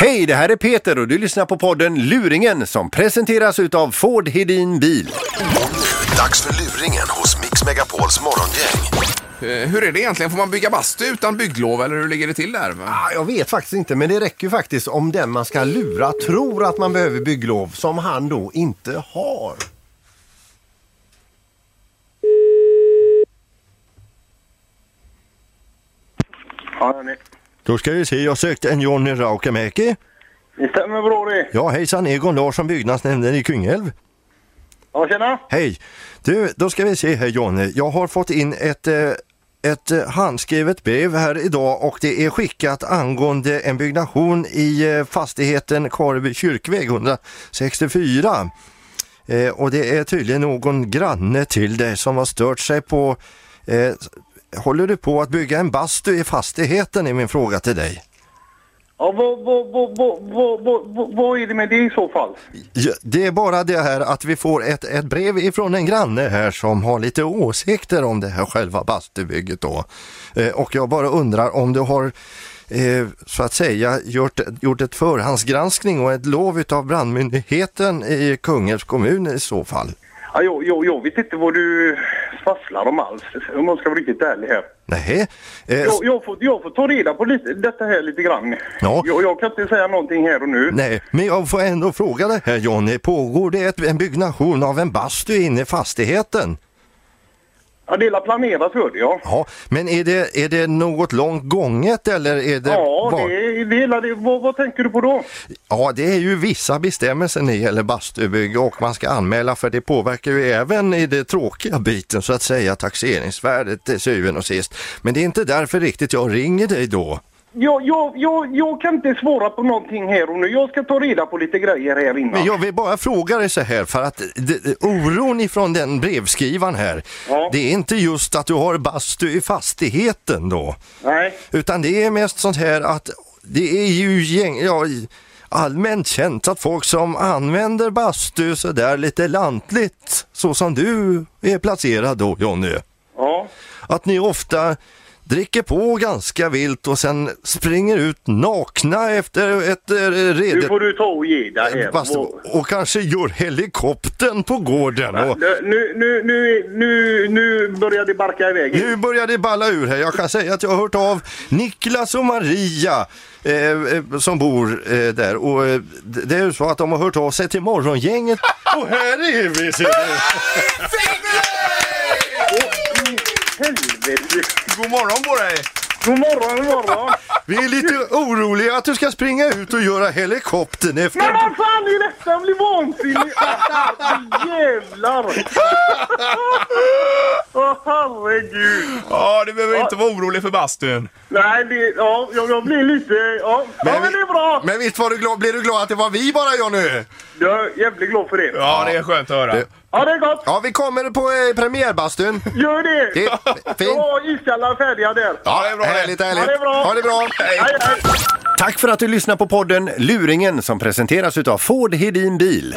Hej, det här är Peter och du lyssnar på podden Luringen som presenteras utav Ford Hedin Bil. Dags för luringen hos Mix Megapols morgongäng. Eh, Hur är det egentligen? Får man bygga bastu utan bygglov eller hur ligger det till där? Ah, Jag vet faktiskt inte, men det räcker ju faktiskt om den man ska lura tror att man behöver bygglov som han då inte har. Ja, hörni. Då ska vi se, jag sökte en Johnny Raukemäki. Det stämmer bra det. Ja hejsan, Egon Larsson, byggnadsnämnden i Kungälv. Ja, tjena. Hej! Du, då ska vi se här Johnny. Jag har fått in ett, eh, ett eh, handskrivet brev här idag och det är skickat angående en byggnation i eh, fastigheten Karleby kyrkväg 164. Eh, och det är tydligen någon granne till dig som har stört sig på... Eh, håller du på att bygga en bastu i fastigheten är min fråga till dig. Ja, vad, vad, vad, vad, vad, vad, vad, vad är det med det i så fall? Ja, det är bara det här att vi får ett, ett brev ifrån en granne här som har lite åsikter om det här själva bastubygget då. Eh, och jag bara undrar om du har eh, så att säga gjort, gjort ett förhandsgranskning och ett lov utav brandmyndigheten i Kungälvs kommun i så fall? Ja, jag, jag, jag vet inte vad du svasslar om alls, om man ska vara riktigt ärlig här. Nej. Eh, Jag, jag, får, jag får ta reda på lite, detta här lite grann. Ja. Jag, jag kan inte säga någonting här och nu. Nej, men jag får ändå fråga det här Johnny. Pågår det ett, en byggnation av en bastu inne i fastigheten? Ja, det är planerat för det, ja. Ja, men är det, är det något långt gånget eller är det... Ja, var- det är det, hela det vad, vad tänker du på då? Ja, det är ju vissa bestämmelser när det gäller bastubygge och man ska anmäla för det påverkar ju även i det tråkiga biten så att säga taxeringsvärdet till syvende och sist. Men det är inte därför riktigt jag ringer dig då. Jag, jag, jag, jag kan inte svara på någonting här och nu. Jag ska ta reda på lite grejer här innan. Men jag vill bara fråga dig så här för att det- det- oron ifrån den brevskrivaren här, Ja. det är inte just att du har bastu i fastigheten då. Nej. Utan det är mest sånt här att det är ju gäng, ja, allmänt känt att folk som använder bastu sådär lite lantligt, så som du är placerad då Jonny, Ja. att ni ofta dricker på ganska vilt och sen springer ut nakna efter ett eh, Nu redet... får du ta och ge dig här. bastu och kanske gör helikoptern på gården. Och Nu, nu, nu, nu, nu börjar det barka iväg. nu börjar det balla ur här. Jag kan säga att jag har hört av Niklas och Maria eh, eh, som bor eh, där. Och eh, d- det är ju så att de har hört av sig till morgongänget. Och här är vi! ser du. Helvete. God morgon på dig! God morgon, god morgon. Vi är lite oroliga att du ska springa ut och göra helikoptern Men efter... vad fan är detta? Jag blir vansinnig. Alltså, Jävlar. Åh herregud. Ja, du behöver inte vara orolig för bastun. Nej, det, ja, jag, jag blir lite... Ja, ja men det är bra. Men visst var du glad, blev du glad att det var vi bara Jonny? Jag är jävligt glad för det. Ja, det är skönt att höra. Ja, det är gott. Ja, vi kommer på eh, premiärbastun. Gör det. Det är Jag fint. har iskallar färdiga där. Ja, det är bra det. Härligt, härligt. Ja, det är bra. Ha det bra. Hej, hej. Tack för att du lyssnar på podden Luringen som presenteras utav Ford Hedin Bil.